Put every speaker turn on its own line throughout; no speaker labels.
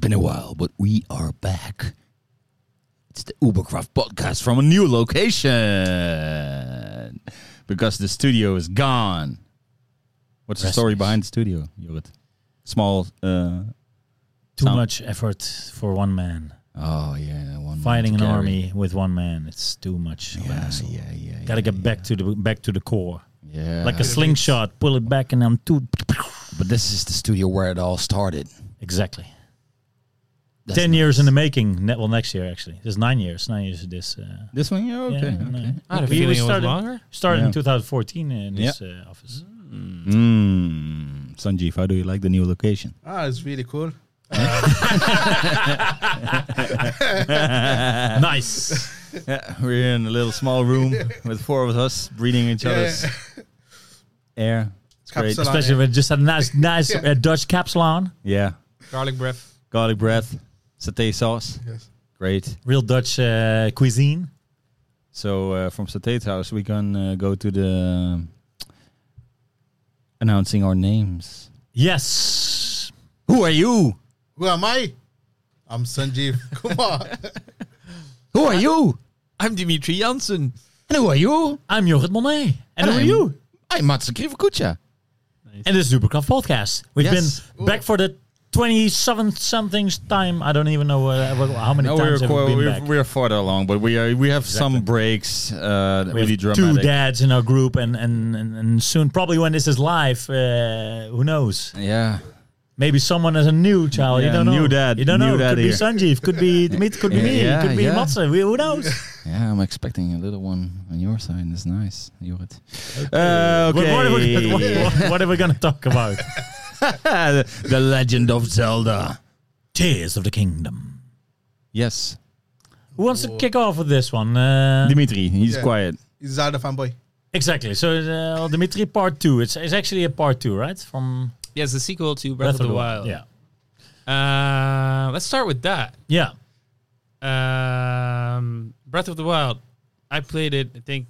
been a while, but we are back. It's the Ubercraft podcast from a new location because the studio is gone. What's the
Rest
story
is-
behind the studio, Jorrit? Small. Uh,
Too
Sound-
much effort for one man.
oh yeah, one
Fighting
man to
an
carry.
army with one man, it's too much. of a
Yeah,
hassle.
yeah, yeah.
Gotta
yeah,
get back to the back to the core,
yeah.
like a slingshot. Pull it back and I'm too.
But this is the studio where it all started.
Exactly.
That's
Ten
nice.
years in the making. Ne- well, next year actually. This is nine years. Nine years. of This. Uh,
This one, yeah, okay.
yeah, no.
okay.
I had a
We- we
feeling it was
started-
longer. Mm-hmm.
Started
Yeah.
in 2014 in this uh, office.
Mm. Sanjeev, how do you like the new location?
Ah, it's really cool.
Uh,
nice.
Yeah, we're in a little small room with four of us breathing each
Yeah,
other's
yeah.
air. It's great.
Capsule.
Especially with just a nice, nice uh, Dutch capsule on.
Yeah,
Garlic breath.
garlic breath, satay sauce,
Yes.
great.
Real Dutch uh, cuisine.
So uh, from Satay's house, we can uh, go to the announcing our names.
Yes.
Who are you?
Who am I? I'm Sanjeev Kumar.
Who are you?
I'm Dimitri Janssen.
And who are you?
I'm Jorrit Monet.
And, who are
I'm-
you? I'm Mats Krivkucha.
And this is Supercraft Podcast. We've
Yes.
been back for the 27th something's time. I don't even know uh, wha- how many
No, we're,
times have we
quite,
been
we're,
back.
we're farther along, but we are we have some breaks. Uh,
We have
really
two
dramatic.
dads in our group, and, and, and, and soon, probably when this is live, uh, who knows?
yeah.
Maybe someone has a new child.
Yeah,
you don't know.
new dad,
You don't
new
know.
dad
could
here.
be Sanjeev. Could be Dmitri. Could be me.
Yeah,
could be
yeah.
Matze. We- Who knows?
Yeah, I'm expecting a little one on your side. That's nice, Jorrit. Uh,
But What, are we, what, what- what are we going to talk about?
the Legend of Zelda.
Tears of the Kingdom.
Yes,
Who wants to kick off with this one? Uh,
Dimitri. He's
Yeah.
quiet.
He's Zelda fanboy.
Exactly. So, uh, well, Dimitri Part Two. It's, it's actually a Part Two, right? From
Yes, the sequel to Breath, of the Wild.
Yeah.
Uh, let's start with that.
Yeah.
Um, Breath of the Wild. I played it. I think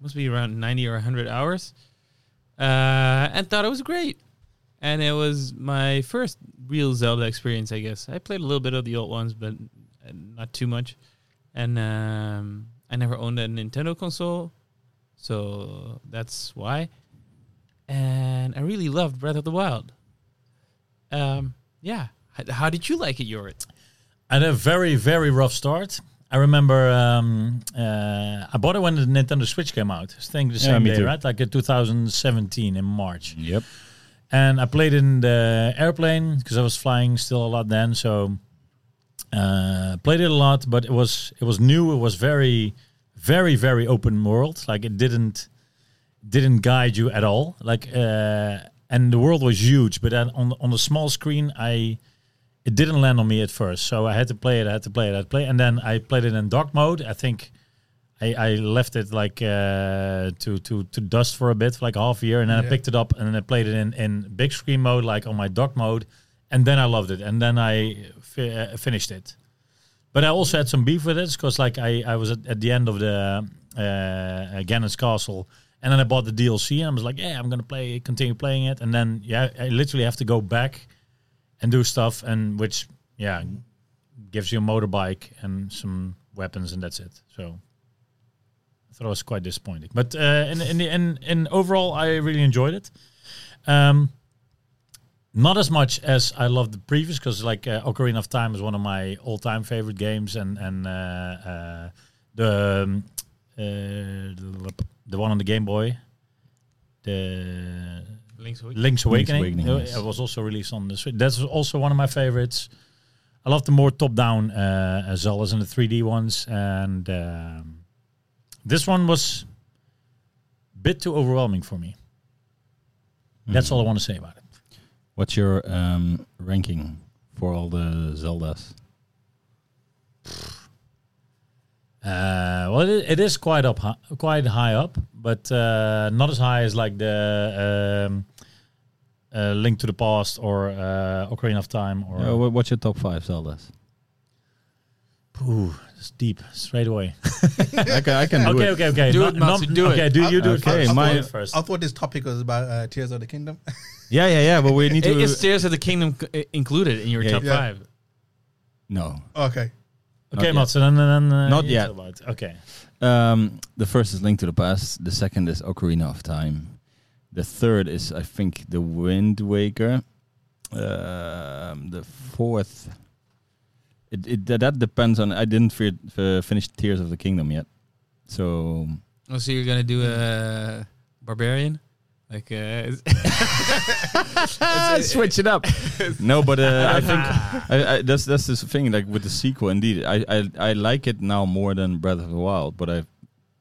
must be around ninety or hundred hours, uh, and thought it was great. And it was my first real Zelda experience, I guess. I played a little bit of the old ones, but uh, not too much. And um, I never owned a Nintendo console, so that's why. And I really loved Breath of the Wild. Um, yeah. H- How did you like it, Yorit?
I had a very, very rough start. I remember um, uh, I bought it when the Nintendo Switch came out. I think the
Yeah,
same
me
day,
too.
right? Like in 2017 in March.
Yep.
And I played in the airplane because I was flying still a lot then. So uh, played it a lot, but it was it was new. It was very, very, very open world. Like it didn't didn't guide you at all. Like uh, and the world was huge, but then on on the small screen, I it didn't land on me at first. So I had to play it. I had to play it. I had to play, and then I played it in dark mode. I think. I, I left it like uh, to to to dust for a bit, for like half a year, and then I
Yeah.
picked it up and then I played it in, in big screen mode, like on my dock mode, and then I loved it, and then I fi- uh, finished it. But I also had some beef with it because like I, I was at, at the end of the uh, uh, Ganon's Castle, and then I bought the DLC, and I was like, yeah, I'm gonna play, continue playing it, and then yeah, I literally have to go back and do stuff, and which yeah gives you a motorbike and some weapons, and that's it. So I thought it was quite disappointing. But uh, in in the in, in overall, I really enjoyed it. Um, not as much as I loved the previous because like uh, Ocarina of Time is one of my all-time favorite games, and and uh, uh, the um, uh, the one on the Game Boy, the
Link's Awakening.
Link's Awakening.
Awakening,
Uh,
yes.
It was also released on the Switch. That's also one of my favorites. I love the more top-down uh, as well as in the 3D ones, and um, this one was a bit too overwhelming for me. That's
Mm-hmm.
all I want to say about it.
Hmm. What's your um, ranking for all the Zeldas?
Uh, well, it, it is quite up, hi- quite high up, but uh, not as high as like the um, uh, Link to the Past or uh, Ocarina of Time or.
Uh, wha- what's your top five Zeldas?
Ooh, it's deep straight away.
I can, I can do
Okay,
it.
okay, okay.
Do it, Matsu, do it. Uh,
okay, do you do
Okay,
it first?
my-
Do it first.
I thought this topic was about uh, Tears of the Kingdom.
Yeah, yeah, yeah. But we need
It-
to.
It's Tears of the Kingdom c- i- included in your
Yeah,
top
yeah.
five.
No.
Okay.
Not
Okay,
yet.
Mats, and then, and then uh,
Not
you
yet.
tell About. Okay.
Um, the first is Link to the Past. The second is Ocarina of Time. The third is, I think, The Wind Waker. Um, the fourth, it, it that- that depends on. I didn't fi- fi- finish Tears of the Kingdom yet, so
Oh, so you're gonna do a barbarian? Like, uh,
switch it up. no, but uh, I think I, I, that's that's the thing. Like with the sequel, indeed, I, I I like it now more than Breath of the Wild. But I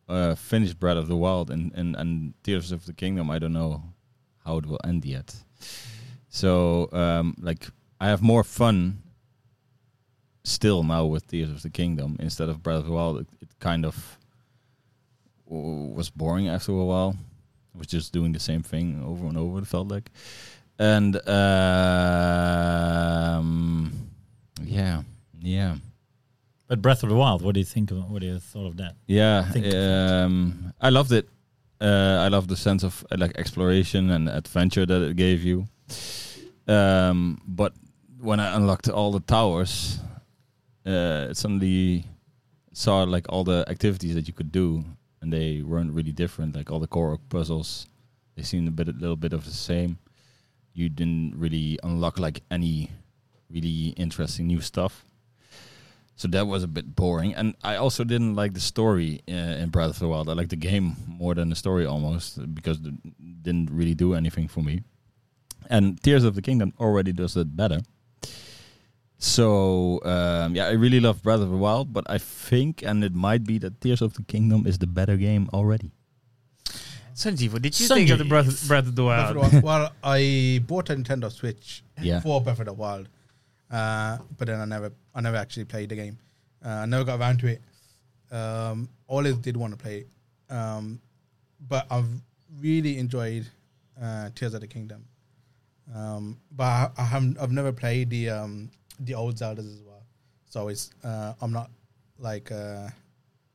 uh, finished Breath of the Wild and, and and Tears of the Kingdom. I don't know how it will end yet. So um, like I have more fun still now with Tears of the Kingdom instead of Breath of the Wild. It, it kind of w- was boring after a while. It was just doing the same thing over and over. It felt like, and um, yeah, yeah,
But Breath of the Wild, what do you think of what do you thought of that?
yeah.
Think of
Um, I loved it. Uh, I love the sense of uh, like exploration and adventure that it gave you. Um, but when I unlocked all the towers, uh, it suddenly saw like all the activities that you could do, and they weren't really different. Like all the core puzzles, they seemed a bit, a little bit of the same. You didn't really unlock like any really interesting new stuff. So that was a bit boring, and I also didn't like the story uh, in Breath of the Wild. I liked the game more than the story almost because it didn't really do anything for me. And Tears of the Kingdom already does it better. So um, yeah, I really love Breath of the Wild, but I think, and it might be that Tears of the Kingdom is the better game already.
Sanjeev, what did you think of the Breath of, Breath of the
Breath of the
Wild?
Wild. well, I bought a Nintendo Switch
Yeah.
for Breath of the Wild, uh, but then I never, I never actually played the game. Uh, I never got around to it. Um, always did want to play it, um, but I've really enjoyed uh, Tears of the Kingdom. Um, but I, I haven't, I've never played the um, the old Zeldas as well, so it's uh, I'm not like uh,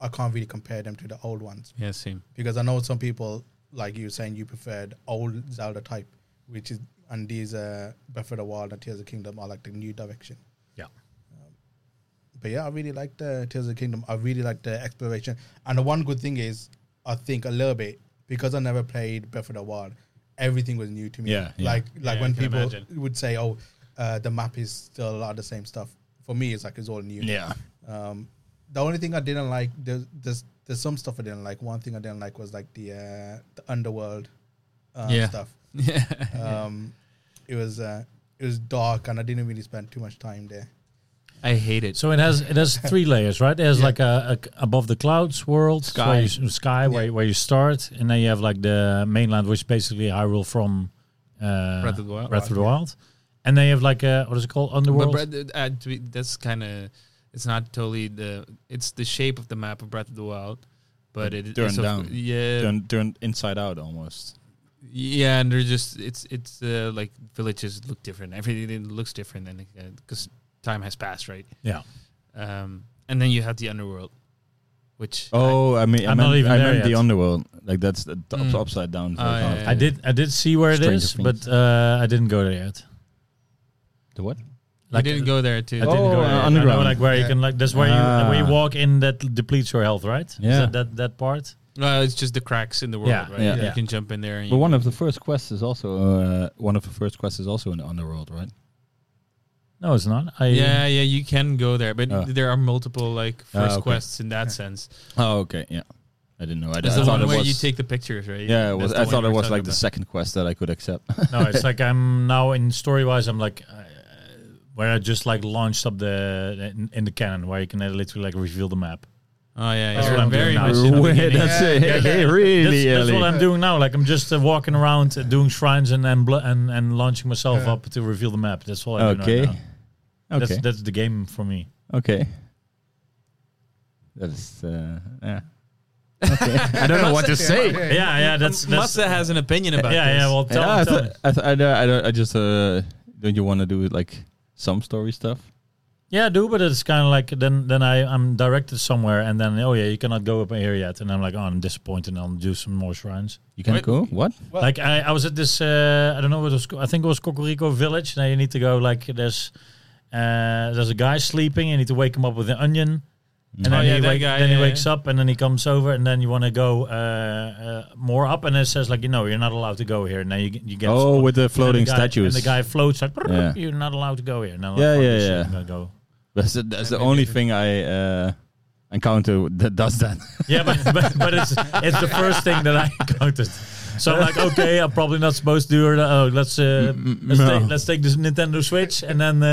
I can't really compare them to the old ones
Yeah, same.
because I know some people like you saying you preferred old Zelda type, which is and these uh, Breath of the Wild and Tears of the Kingdom are like the new direction. Um,
Yeah.
But yeah, I really like the Tears of the Kingdom. I really like the exploration. And the one good thing is, I think a little bit because I never played Breath of the Wild, everything was new to me.
Yeah, yeah.
like like
Yeah, I
when
can
people
imagine.
would say, "Oh, uh, the map is still a lot of the same stuff." For me, it's like it's all new.
Yeah,
Um, the only thing I didn't like there's, there's there's some stuff I didn't like. One thing I didn't like was like the uh, the underworld uh,
Yeah.
stuff.
Yeah.
Um, it was uh, it was dark and I didn't really spend too much time there.
I hate it.
So it has it has three layers, right? There's
Yeah.
like a, a above the clouds world,
Sky.
where you, s- sky where, where you start, and then you have like the mainland, which is basically Hyrule from uh,
Breath of the Wild.
Breath of the Wild. and then you have like a what is it called
But
underworld?
Breath, uh, to be- that's kind of it's not totally the it's the shape of the map of Breath of the Wild, but it
Turned
it's of-
down.
Yeah,
turned turned inside out almost.
yeah, and they're just it's it's uh, like villages look different. Everything looks different, and because time has passed, right?
yeah,
Um, and then you have the underworld, which
Oh, I mean, I
I'm not
meant,
even
I
there
meant the
yet.
underworld. Like that's the top-
Mm.
upside down.
Oh, yeah, yeah.
I did I did see where it
Stranger
is,
Things.
but uh, I didn't go there yet.
The what?
I, I didn't go there too.
I didn't
Oh,
go
uh,
there. I know,
underground.
like where you
Yeah.
can like that's where you where you
Ah.
walk in that depletes your health, right? Is
Yeah.
that that, that part.
No, it's just the cracks in the world,
Yeah,
right?
yeah,
you
yeah.
can jump in there. And
But
you-
one of the first quests is also uh, one of the first quests is also in the underworld, right?
No, it's not. I,
yeah, yeah, you can go there, but
Oh.
there are multiple like
Ah,
first
okay.
quests in that sense.
Oh, okay, yeah. I didn't know. I,
There's
I
the
thought
one
it
where
was.
you take the pictures, right?
yeah, it
That's
was,
the
I
one
thought
we
it
were
was like
talking
the
about.
second quest that I could accept.
No, it's like I'm now in story wise. I'm like uh, where I just like launched up the in, in the canon where you can literally like reveal the map.
Oh yeah,
That's
yeah.
what I'm doing
very
now.
much in the
Wait,
beginning.
that's it.
Yeah, yeah.
really
That's, that's
early.
what I'm doing now. Like I'm just uh, walking around uh, doing shrines and and, bl- and and launching myself
Yeah.
up to reveal the map. That's all I do.
okay.
right now.
Okay.
That's that's the game for me.
okay. That is. Uh, yeah. Okay. I don't know what to say.
Yeah, yeah.
Yeah, yeah. That's that's
Massa has an opinion
yeah,
about this.
yeah. Well, tell,
yeah, I,
tell
th-
me.
I, th- I, don't- I, don't- I just uh, don't. You want to do like some story stuff?
Yeah, I do, but it's kind of like then then I I'm directed somewhere, and then oh yeah, you cannot go up here yet, and I'm like oh I'm disappointed. I'll do some more shrines.
You can
Wait.
go. What?
Well-
like I, I was at this uh, I don't know what it was co- I think it was Cocorico Village. Now you need to go like there's Uh, there's a guy sleeping. You need to wake him up with an onion.
Mm.
And
Oh,
then,
yeah,
he,
that
wake,
guy,
then
yeah,
he wakes
yeah.
up and then he comes over and then you want to go uh, uh, more up and it says like you know you're not allowed to go here and then you, you get
Oh, with the
and then
floating
the guy-
statues.
and the guy floats like
Yeah.
you're not allowed to go here and then,
Yeah,
like,
yeah,
oh, shit,
yeah.
I'm gonna go.
That's the, that's the only thing I uh, encounter that does that.
yeah but, but, but it's it's the first thing that I encountered so I'm like okay I'm probably not supposed to do it oh let's uh, let's,
no.
take, let's take this Nintendo Switch and then uh,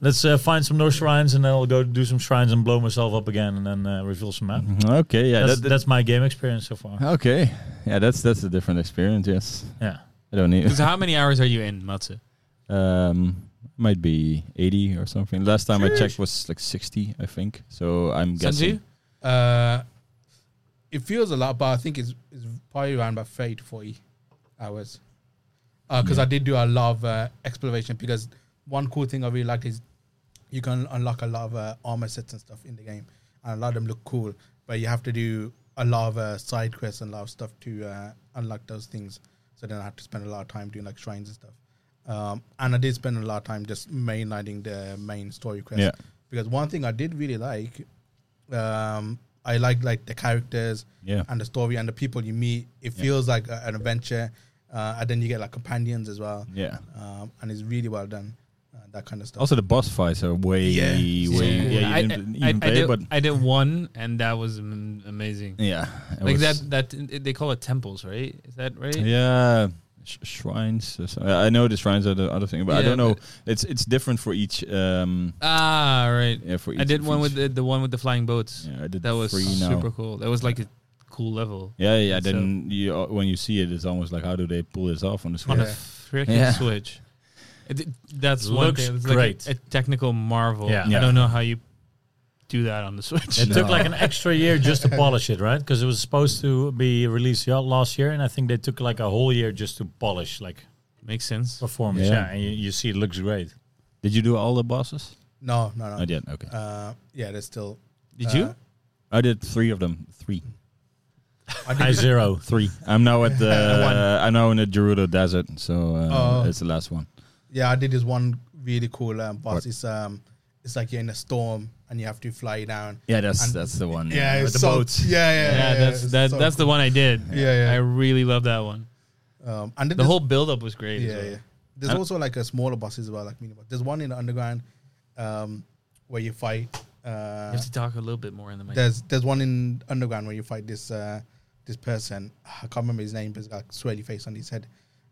let's uh, find some more shrines and then I'll go do some shrines and blow myself up again and then uh, reveal some map
okay, yeah,
that's,
that,
that's my game experience so far
that- okay, yeah, that's that's a different experience. Yes,
yeah.
I don't need.
So how many hours are you in, Matsu?
Um, might be eighty or something. Last time I checked was like sixty, I think. So I'm
Sanju?
guessing.
Uh, it feels a lot, but I think it's, it's probably around about 30 to 40 hours. Because I did do a lot of uh, exploration. Because one cool thing I really liked is you can unlock a lot of uh, armor sets and stuff in the game, and a lot of them look cool. But you have to do a lot of uh, side quests and a lot of stuff to uh, unlock those things. So then I have to spend a lot of time doing like shrines and stuff. Um, and I did spend a lot of time just mainlining the main story quest.
Yeah.
Because one thing I did really like, um, I like like the characters
Yeah.
and the story and the people you meet. It feels like a, an adventure, uh, and then you get like companions as well.
Yeah.
Um, and it's really well done. Uh, that kind of stuff.
Also, the boss fights are way,
Yeah.
way.
So cool.
Yeah, you
I,
didn't
I-
even
I
play,
did,
but
I did one, and that was am- amazing.
yeah, it
like
was-
that, that they call it temples, right? Is that right?
Yeah, sh- shrines. or so- I know the shrines are the other thing, but I
Yeah,
don't know.
but-
It's it's different for each. Um,
Ah, right.
yeah, for each.
I did
for
one
each-
with the, the one with the flying boats.
Yeah, I did
that was
three now.
super cool. That was like a cool level
Yeah, yeah.
So-
Then you, uh, when you see it, it's almost like, how do they pull this off on the
on
Switch?
a
Yeah.
freaking
Yeah.
switch. It, that's one
Looks
thing. It's
great.
Like a, a technical marvel.
Yeah.
Yeah.
I don't know how you do that on the switch.
It took
No.
like an extra year just to polish it, right? Because it was supposed to be released y- last year, and I think they took like a whole year just to polish like
Makes sense.
performance.
Yeah.
Yeah, and you, you see it looks great.
Did you do all the bosses?
no, no, no.
I did. Okay,
Uh, yeah, there's still.
Oh, Did
uh,
you?
I did three of them. Three,
I
I
did,
zero.
three. I'm now at the.
One.
I'm now in the Gerudo Desert, so uh,
Oh.
it's the last one.
yeah, I did this one really cool um, boss.
What?
It's um, it's like you're in a storm and you have to fly down.
Yeah, that's
And-
that's the one.
Yeah,
with
it's
the
so,
boats.
Yeah, yeah,
Mm, Yeah,
yeah.
that's
it's
that.
so
that's the one I did.
Yeah, yeah.
I really love that one.
cool. Um, and then
The
there's-
whole build up was great. as
Yeah,
well.
yeah. There's
And-
also like a smaller boss as well, like mini boss. There's one in the underground, um, where you fight.
You
Uh,
have to talk a little bit more in the mic.
there's there's one in underground where you fight this uh, this person. I can't remember his name, but it's like swirly face on his head,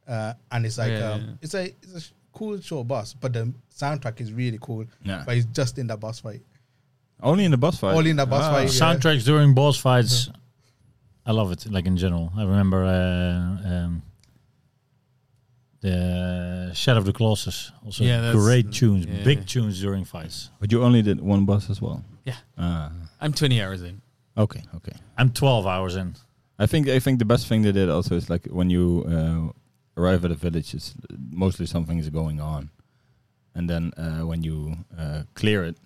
uh, and it's like
Yeah,
um,
yeah.
it's a it's a sh- cool short boss, but the soundtrack is really cool.
Yeah.
But it's just in that boss fight.
Only in the boss fight.
Only in that boss
Ah.
Oh,
fight. Yeah.
Soundtracks during boss fights, I love it. Like in general, I remember uh, um, the Shadow of the Colossus. Also,
Yeah, that's-
great tunes,
yeah.
big tunes during fights.
But you only did one boss as well.
Yeah.
Ah,
I'm 20 hours in.
okay, okay.
I'm 12 hours in.
I think I think the best thing they did also is like when you uh, arrive at a village, it's mostly something is going on, and then uh, when you uh, clear it,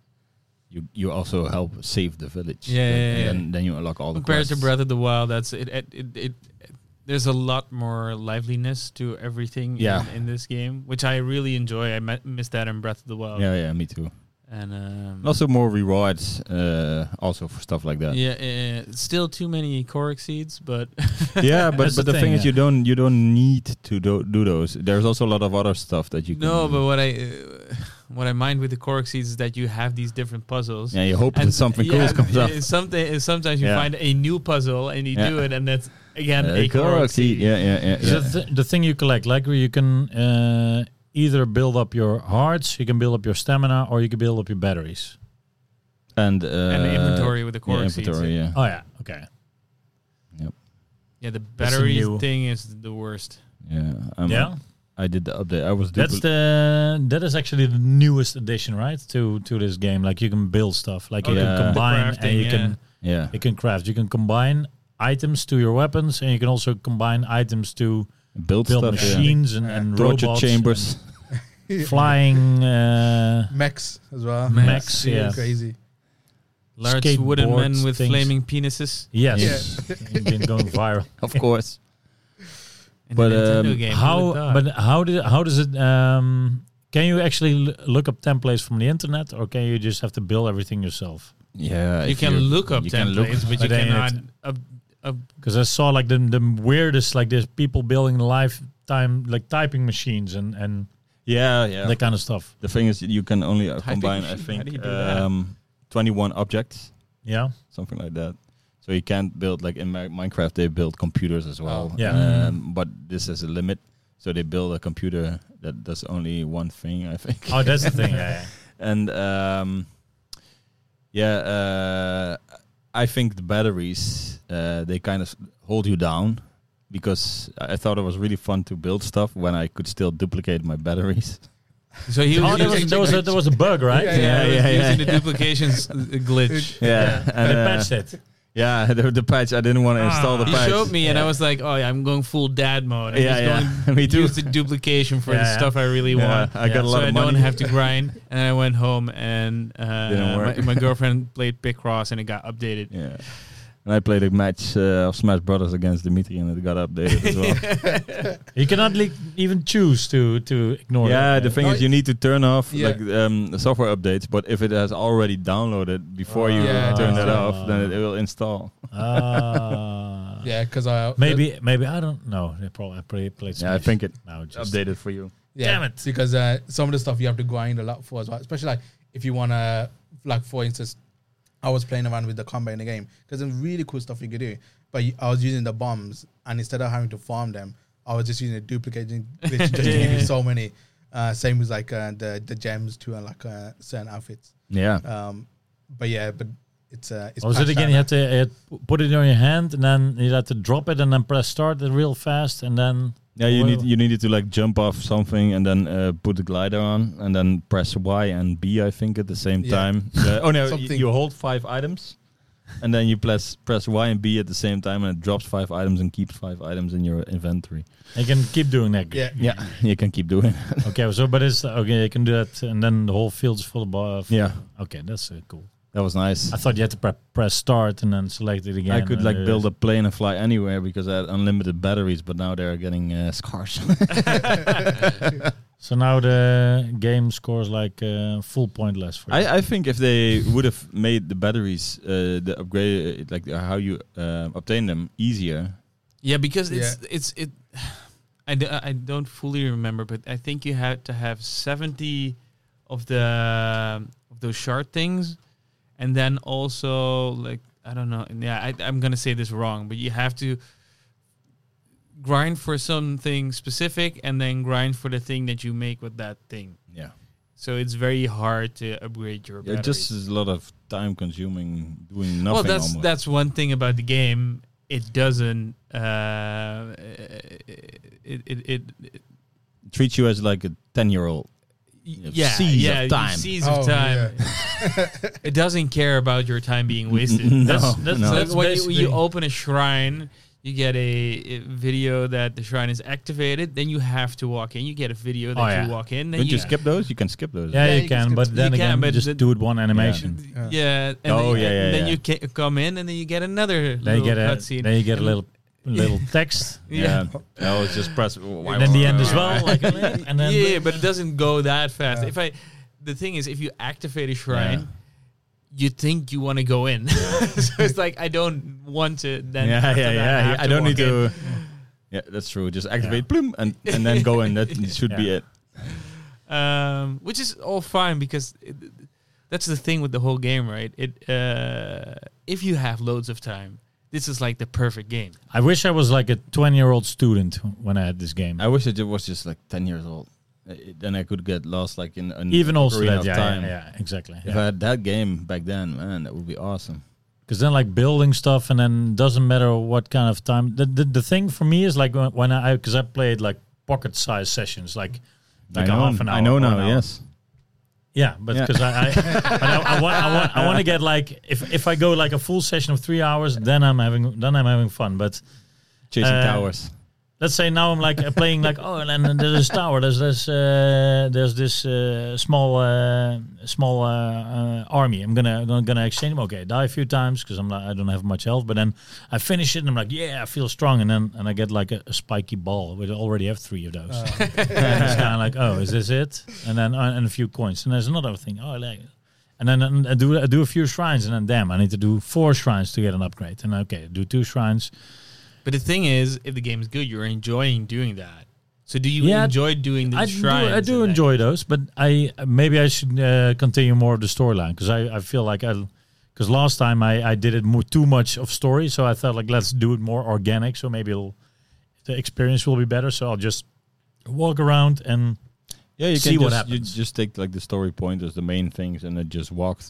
you you also help save the village.
Yeah,
Like,
yeah,
and
yeah.
Then, then you unlock all the
Compared to
quests.
Breath of the Wild, that's it. It, it, it there's a lot more liveliness to everything
Yeah.
in, in this game, which I really enjoy. I mi- miss that in Breath of the Wild.
Yeah, yeah, me too.
And um,
And also more rewards, uh, also for stuff like that.
yeah, yeah, still too many core exceeds, but
Yeah, but
That's
but the
the
thing,
thing,
is,
yeah.
you don't you don't need to do, do those. There's also a lot of other stuff that you can
no.
do.
But what I uh, what I mind with the core exceeds is that you have these different puzzles.
yeah, you hope
And
that something
yeah,
cool comes up.
uh, Something and sometimes you
Yeah.
find a new puzzle and you
Yeah.
do it, and that's again
Uh,
a core exceed.
Yeah, yeah, yeah. yeah.
So The, th- the thing you collect, like where you can uh, either build up your hearts, you can build up your stamina, or you can build up your batteries.
and uh,
And the inventory with the
yeah,
core exceeds.
inventory, yeah.
Oh yeah, okay.
Yeah, the
a
battery
new-
thing is the worst.
Yeah, um,
yeah,
I did the update. I was
that's
dupli-
the that is actually the newest addition, right? To to this game, like you can build stuff, like
Oh,
you
yeah.
can combine
crafting,
and you
yeah.
can
yeah.
you can craft. You can combine items to your weapons, and you can also combine items to
build,
build
stuff,
machines and,
Yeah.
and
yeah. torture
robots,
chambers.
and flying uh,
Max as well.
Max,
Really
yeah.
crazy.
Large wooden
skateboard
men with
things.
flaming penises.
Yes, You've been going viral.
of course.
In
But,
a Nintendo
um,
game. Who
how
would've thought?
but how did how does it um Can you actually l- look up templates from the internet, or can you just have to build everything yourself?
Yeah,
you
if
can look up
you can look-
templates, but
But
you
then
cannot.
it's-
Up, up,
Because I saw like the the weirdest like there's people building lifetime like typing machines and and
Yeah, yeah.
that kind of stuff.
the thing is, you can only uh,
Typing
combine, I
machine, how do you
think,
do that?
um, 21 objects,
Yeah,
something like that. So you can't build like in Mi- Minecraft. They build computers as well.
Oh.
Yeah.
Um, but this is a limit. So they build a computer that does only one thing, I think.
oh that's the thing. Yeah,
and um, yeah, uh, I think the batteries uh, they kind of hold you down because I I thought it was really fun to build stuff when I could still duplicate my batteries.
so he
yeah.
was
Oh, there
using,
was, there was a, there was a bug, right?
Yeah,
yeah,
he was
yeah, yeah,
using the
yeah.
duplications uh, glitch.
Yeah,
And
and,
they
uh,
patched it.
yeah, the, the patch. I didn't want to install the
He
patch.
showed me, and I was like, "Oh yeah, I'm going full dad mode. I'm
Yeah,
just
yeah.
going
Me too.
Use the duplication for the
Yeah.
stuff I really
Yeah,
want.
I got a
so
lot
I
of
don't
money.
have to grind. And I went home and uh,
Didn't
my,
work.
my girlfriend played Picross and it got updated.
yeah, and I played a match uh, of Smash Brothers against Dimitri, and it got updated as well.
You cannot le- even choose to to ignore.
Yeah,
it.
the thing
No,
is, you need to turn off
Yeah.
like um, the software updates. But if it has already downloaded before you
Yeah,
turn
it
that
does.
off, then it will install.
Ah.
Yeah, because I
Maybe maybe I don't know. They probably I play, played.
Yeah, I
Smash
think it
now just
updated for you.
Yeah,
Damn it.
Because uh, some of the stuff you have to grind a lot for as well, especially like if you want to, like for instance, I was playing around with the combat in the game because there's really cool stuff you could do. But you- I was using the bombs, and instead of having to farm them, I was just using a duplicating glitch just to give you so many. Uh, same with like uh, the the gems too, and like uh, certain outfits.
Yeah,
Um, but yeah, but it's uh, it's
What was Oh, it
patched out
again? You
now.
had to you had to put it on your hand, and then you had to drop it, and then press start it real fast, and then
yeah. You
Well-
need you needed to like jump off something and then uh, put the glider on and then press Y and B. I think at the same
Yeah.
time. Uh, oh no, y-
Something.
you hold five items, and then you press press Y and B at the same time, and it drops five items and keeps five items in your inventory.
you can keep doing that.
Yeah.
Yeah, you can keep doing. it.
Okay. So, but it's okay. You can do that, and then the whole field's full of. bo- of-
Yeah,
Okay, that's uh, cool.
that was nice.
I thought you had to pre- press start and then select it again.
I could like build a plane and fly anywhere because I had unlimited batteries, but now they're getting uh, scarce.
So now the game scores like uh, full point less for you.
I, I think if they would have made the batteries, uh, the upgrade, uh, like uh, how you uh, obtain them, easier.
Yeah, because it's it's it. I, d- I don't fully remember, but I think you had to have seventy of the of those shard things, and then also like I don't know. Yeah, I, I'm gonna say this wrong, but you have to grind for something specific, and then grind for the thing that you make with that thing.
Yeah,
So it's very hard to upgrade
uh,
your.
it
batteries.
just is a lot of time consuming doing nothing.
well, that's
almost.
that's one thing about the game. It doesn't. Uh, it, it, it, it
treats you as like a ten-year-old. have
yeah
seas of
yeah you
time.
seas
Oh,
of time. it doesn't care about your time being wasted.
No,
that's that's,
no.
that's
That's
when you,
basically-
you open a shrine. You get a, a video that the shrine is activated. Then you have to walk in. You get a video that
Oh, yeah.
you walk in. Then
Don't you skip those? You can skip those.
yeah,
Yeah,
you,
you can
can,
skip
but
it.
then
You
again,
can, but
just
the-
do it one animation.
Yeah.
Yeah. And
Oh,
then,
yeah, yeah,
and then
yeah.
you ca- come in, and then you get another.
Then you
little
get a
cutscene.
then you get a
And-
little little text.
yeah. No, it's just press.
and then the end as well, like, and then
yeah, but it doesn't go that fast.
Yeah.
If I, the thing is, if you activate a shrine, you think you want to go in, so it's like I don't want to. Then
yeah, yeah,
after
yeah.
that,
yeah.
have
I don't need
walk in.
to. Yeah, that's true. Just activate, bloom, and and then go in. That should be
Yeah.
it.
um, which is all fine because it, that's the thing with the whole game, right? It uh, if you have loads of time, this is like the perfect game.
I wish I was like a 20 year old student when I had this game.
I wish it was just like ten years old. Uh, it- Then I could get lost like in an
Even also
Ocarina
that,
of
yeah,
time.
yeah, yeah, exactly.
If I had that game back then, man, that would be awesome.
Because then, like building stuff, and then doesn't matter what kind of time. The the, the thing for me is like when, when I because I played like pocket sized sessions, like like a half an hour.
I know
or
now.
an hour.
Yes.
Yeah, but
Yeah.
because I, I, but I, I want, I want, I want to get like if if I go like a full session of three hours, then I'm having then I'm having fun. But
Chasing
Uh,
towers.
let's say now I'm like uh, playing like oh, and then there's this tower, there's this, uh, there's this uh, small, uh, small uh, uh, army. I'm gonna I'm gonna exchange them. Okay, die a few times because I'm not, I don't have much health, but then I finish it and I'm like, yeah, I feel strong, and then and I get like a, a spiky ball. We already have three of those. and it's kind of like, oh, is this it? And then uh, and a few coins. And there's another thing. Oh, I like. And then um, I do I do a few shrines, and then damn, I need to do four shrines to get an upgrade. And okay, do two shrines.
But the thing is, if the game is good, you're enjoying doing that. So do you
Yeah,
enjoy doing the
I do,
shrines?
I
and
do
that?
enjoy those, but I maybe I should uh, continue more of the storyline because I, I feel like I because last time I, I did it mo- too much of story, so I thought like let's do it more organic, so maybe it'll, the experience will be better. So I'll just walk around and
Yeah, you
See
can
what
just, you
happens.
just take like the story pointers, the main things, and then just walk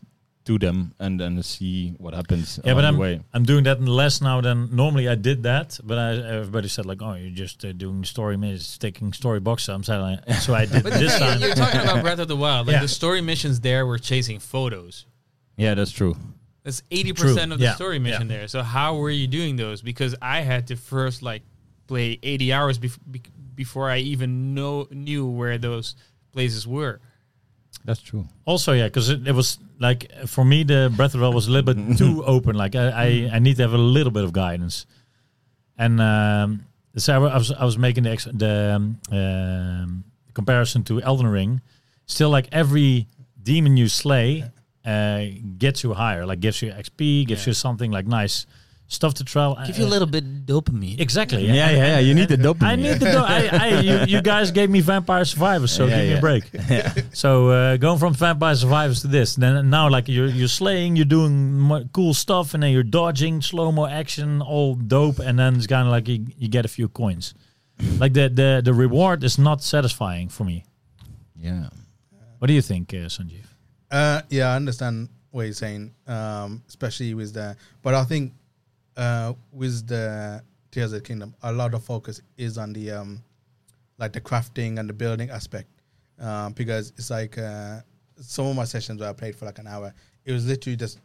to them and then see what happens
yeah, but
along
I'm
the way.
I'm doing that less now than normally I did that. But I, everybody said like oh you're just uh, doing story missions, taking story box. So I'm saying like, so I did
But the
this
thing is,
time.
you're talking about Breath of the Wild. Like
Yeah.
the story missions there were chasing photos.
Yeah, that's true.
That's eighty
True,
percent of the
yeah,
story mission there. So how were you doing those? Because I had to first like play eighty hours bef- be- before I even know knew where those places were.
That's true.
Also, yeah, because it, it was like uh, for me, the Breath of the Wild was a little bit too open. Like I, I, I need to have a little bit of guidance, and um, so I wa- I was I was making the ex- the um, um, comparison to Elden Ring. Still, like every demon you slay uh, gets you higher, like gives you XP, gives you something like nice stuff to trial. Uh,
bit of dopamine.
exactly.
Yeah, yeah, yeah. You need the dopamine.
I need to do. I, I, you, you guys gave me Vampire Survivors, so
Yeah,
give me
yeah.
a break. So uh, going from Vampire Survivors to this, then now like you're you're slaying, you're doing mo- cool stuff, and then you're dodging slow mo action, all dope, and then it's kind of like you, you get a few coins. like the, the the reward is not satisfying for me.
Yeah.
What do you think, uh, Sanjeev?
Uh, yeah, I understand what you're saying, um, especially with the. But I think uh, with the Tears of the Kingdom, a lot of focus is on the um, like the crafting and the building aspect, um, because it's like uh, some of my sessions where I played for like an hour, it was literally just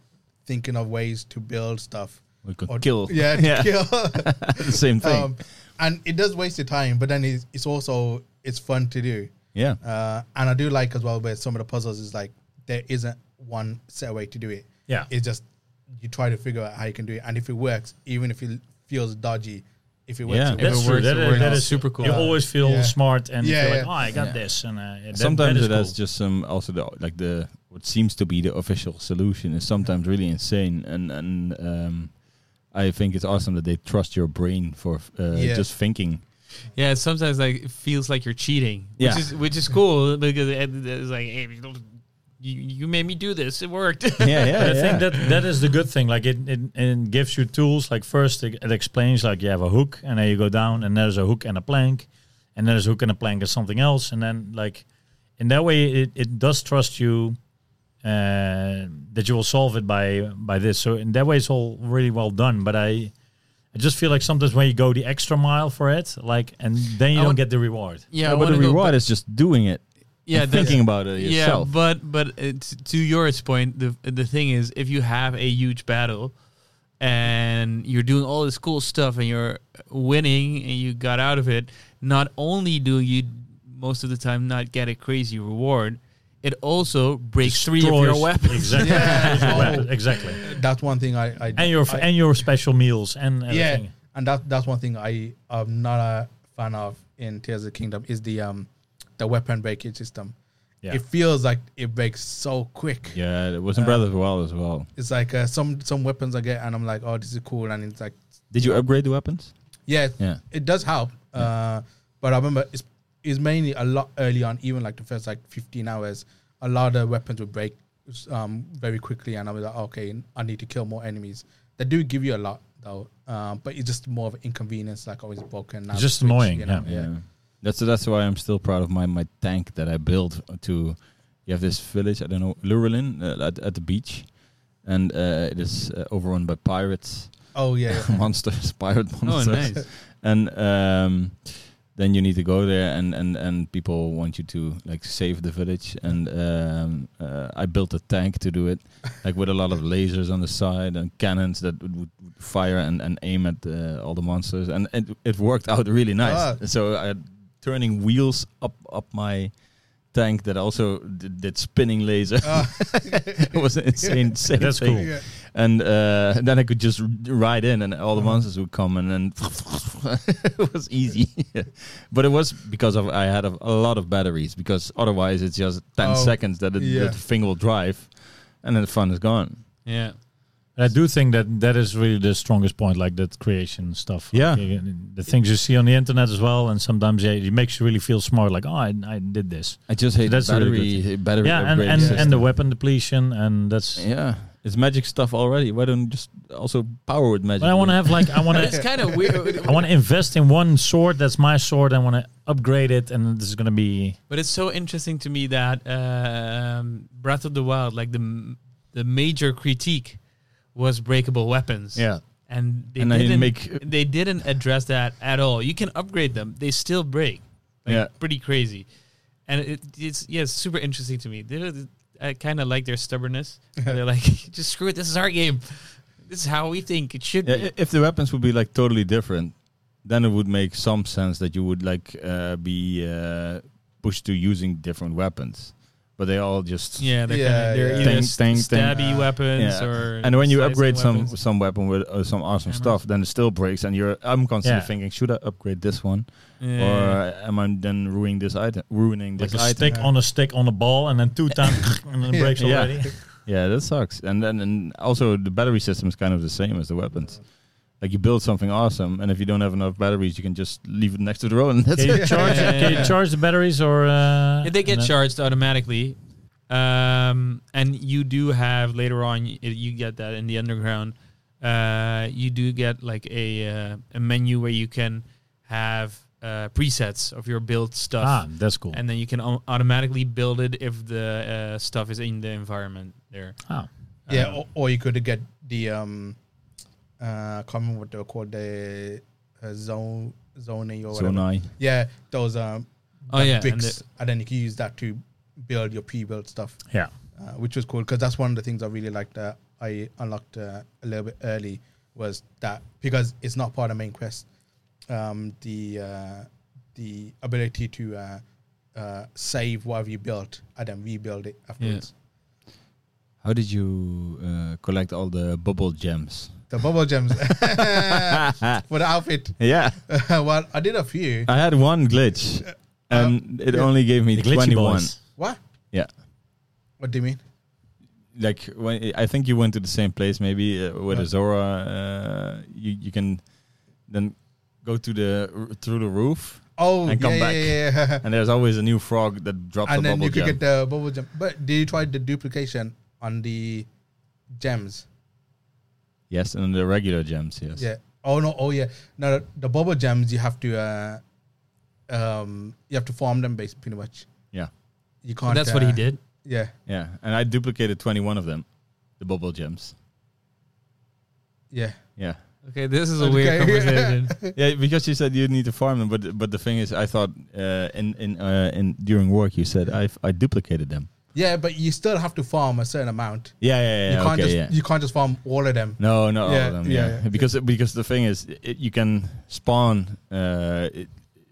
thinking of ways to build stuff.
We could
Or-
kill.
Yeah, to
Yeah.
kill.
the same thing.
um, and it does waste your time, but then it's, it's also it's fun to do.
yeah.
Uh, and I do like as well where some of the puzzles is like there isn't one set way to do it.
Yeah.
It's just you try to figure out how you can do it, and if it works, even if it feels dodgy, if it works,
Yeah.
it
That's
works.
true. That is- that is super cool.
You always feel
Yeah.
smart and
Yeah,
you feel like,
yeah.
oh, I got this. And uh, that-
sometimes
that is
it has
cool.
just some also the like the what seems to be the official solution is sometimes really insane and and um I think it's awesome that they trust your brain for uh,
Yeah.
just thinking.
Yeah, sometimes like it feels like you're cheating,
Yeah.
which is which is cool because it- it's like hey, you, don't- you you made me do this, it worked.
Yeah, yeah.
But I think that that is the good thing. Like it, it, it gives you tools. Like first, it, it explains like you have a hook, and then you go down, and there's a hook and a plank, and there's a hook and a plank and something else, and then like in that way, it, it does trust you uh, that you will solve it by by this. So in that way, it's all really well done. But I. I just feel like sometimes when you go the extra mile for it, like, and then you
I
don't
want-
get the reward.
yeah, I
but the
wanna go
reward
back-
is just doing it,
yeah, that's-
thinking about it yourself.
Yeah, but but it's, to yours point, the the thing is, if you have a huge battle and you're doing all this cool stuff and you're winning and you got out of it, not only do you most of the time not get a crazy reward, it also breaks three of your
Destroys-
weapons.
Exactly.
Yeah.
exactly.
That's one thing I, I
And your
I-
and your special meals and
yeah,
everything.
and that that's one thing I am not a fan of in Tears of the Kingdom is the um the weapon breakage system.
Yeah.
It feels like it breaks so quick.
yeah, it
Uh,
was in Breath of the Wild as well.
It's like uh, some some weapons I get and I'm like, oh, this is cool, and it's like,
Did you upgrade the weapons?
yeah,
Yeah.
it does help. Uh, but I remember it's, it's mainly a lot early on, even like the first like 15 hours, a lot of weapons would break um, very quickly. And I was like, okay, I need to kill more enemies. They do give you a lot though, um, but it's just more of an inconvenience, like always broken. now
It's just
switch,
annoying,
Yeah. That's that's why I'm still proud of my my tank that I built to. You have this village, I don't know, Lurelin uh, at, at the beach, and uh, it is uh, overrun by pirates,
Oh, yeah. yeah.
monsters, pirate
Oh,
monsters,
nice.
and um, then you need to go there and and and people want you to like save the village and um, uh, I built a tank to do it like with a lot of lasers on the side and cannons that would, would fire and, and aim at uh, all the monsters and it, it worked out really nice
Ah.
so I turning wheels up up my tank that also did, did spinning laser it was an insane, insane
That's
thing.
cool.
Yeah.
And uh, then I could just r- ride in, and all the
Uh-huh.
monsters would come, and then it was easy. but it was because of I had a, a lot of batteries, because otherwise it's just ten
Oh,
seconds that, it,
yeah.
that the thing will drive, and then the fun is gone.
Yeah.
And I do think that that is really the strongest point, like that creation stuff.
Yeah.
Like, uh, the things you see on the internet as well, and sometimes yeah, it makes you really feel smart. Like, oh, I, I did this.
I just hate
That's a really
battery,
good
battery
yeah, and
upgrade
and,
system.
and the weapon depletion, and that's.
yeah, it's magic stuff already. Why don't you just also power with magic?
But I want to have like I want
But it's
to
kind of weird.
I want to invest in one sword that's my sword. I want to upgrade it, and this is gonna be
But it's so interesting to me that um, Breath of the Wild, like the m- the major critique, was breakable weapons. and they
And I
didn't
didn't make- uh,
they didn't address that at all. You can upgrade them; they still break. Like,
Yeah.
pretty crazy. And it, it's yeah, it's super interesting to me. They- I kind of like their stubbornness. They're like, just screw it. This is our game. This is how we think it should
Yeah,
be.
i- if the weapons would be like totally different, then it would make some sense that you would like uh, be uh, pushed to using different weapons. But they all just
yeah, they're,
Yeah,
kinda, they're
yeah.
either
Ting,
s-
ting, ting.
stabby
Ah.
weapons
Yeah.
or
And when you
slicing
upgrade some
weapons.
some weapon with uh, some awesome
Ammo.
stuff, then it still breaks, and you're I'm constantly
Yeah.
thinking, should I upgrade this one,
Yeah.
or uh, am I then ruining this item? Ruining
like
this
a
item?
stick on a stick on a ball, and then two times, and then it breaks
Yeah.
already.
Yeah, that sucks. And then and also the battery system is kind of the same as the weapons. Like you build something awesome, and if you don't have enough batteries, you can just leave it next to the road, and that's
Can
it.
you charge?
Yeah.
Can you charge the batteries or? Uh,
If they get
no?
charged automatically, um, and you do have later on, y- you get that in the underground. Uh, you do get like a uh, a menu where you can have uh, presets of your build stuff,
Ah, that's cool.
and then you can au- automatically build it if the uh, stuff is in the environment there.
Ah,
Yeah,
Uh,
or, or you could get the um, uh, can't remember what they were called the uh, zone zoning or
So
whatever.
nice.
Yeah, those um,
Oh yeah, and
bricks,
the-
and, then you can use that to build your pre-built stuff,
yeah.
uh, which was cool because that's one of the things I really liked that I unlocked uh, a little bit early was that because it's not part of main quest, um, the uh, the ability to uh, uh, save whatever you built and then rebuild it afterwards.
How did you uh, collect all the bubble gems?
The bubble gems for the outfit.
Yeah,
well, I did a few.
I had one glitch, and it
Uh, yeah.
only gave me
The glitchy
twenty-one.
boys.
What?
Yeah.
What do you mean?
Like when I think you went to the same place, maybe uh, with
Yeah.
Azora. Uh, you you can then go to the r- through the roof,
Oh,
And come
yeah,
back.
yeah, yeah.
and there's always a new frog that drops a
and then
bubble
you could
gem.
get the bubble gem. But did you try the duplication on the gems?
yes, and the regular gems. Yes.
Yeah. Oh no. Oh yeah. No, the bubble gems you have to, uh, um, you have to farm them basically pretty much.
Yeah.
You can't.
that's what he
uh,
did.
Yeah.
Yeah, and I duplicated twenty-one of them, the bubble gems.
Yeah.
Yeah.
Okay, this is a
a
weird
weird Okay.
conversation.
conversation.
Yeah, because you said you need to farm them, but but the thing is, I thought uh, in in uh, in during work you said I I duplicated them.
Yeah, but you still have to farm a certain amount.
Yeah, yeah, yeah.
you can't
okay,
just
yeah.
you can't just farm all of them.
no, not all
Yeah,
of them. Yeah,
yeah, yeah.
because because the thing is, it, you can spawn. Uh, it,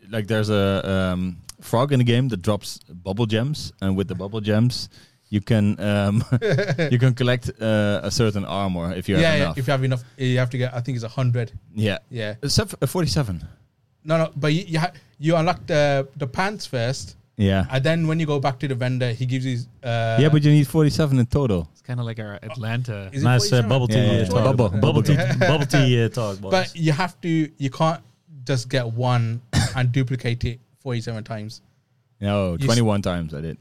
like there's a um, frog in the game that drops bubble gems, and with the bubble gems, you can um, you can collect uh, a certain armor if you
Yeah,
have
yeah.
enough.
If you have enough, eh, you have to get. I think it's a hundred.
yeah.
Yeah.
Except for 47.
No, no, but you you, ha- you unlock the the pants first,
Yeah.
and then when you go back to the vendor, he gives you. Uh,
yeah, but you need 47 in total.
It's kind of like our Atlanta.
Is it
Nice uh,
47?
bubble tea
Yeah, yeah,
uh,
yeah.
talk.
Bubble-
bubble tea,
Yeah.
bubble tea uh, talk. boys.
But you have to. You can't just get one and duplicate it forty-seven times
No,
s-
21 times I did.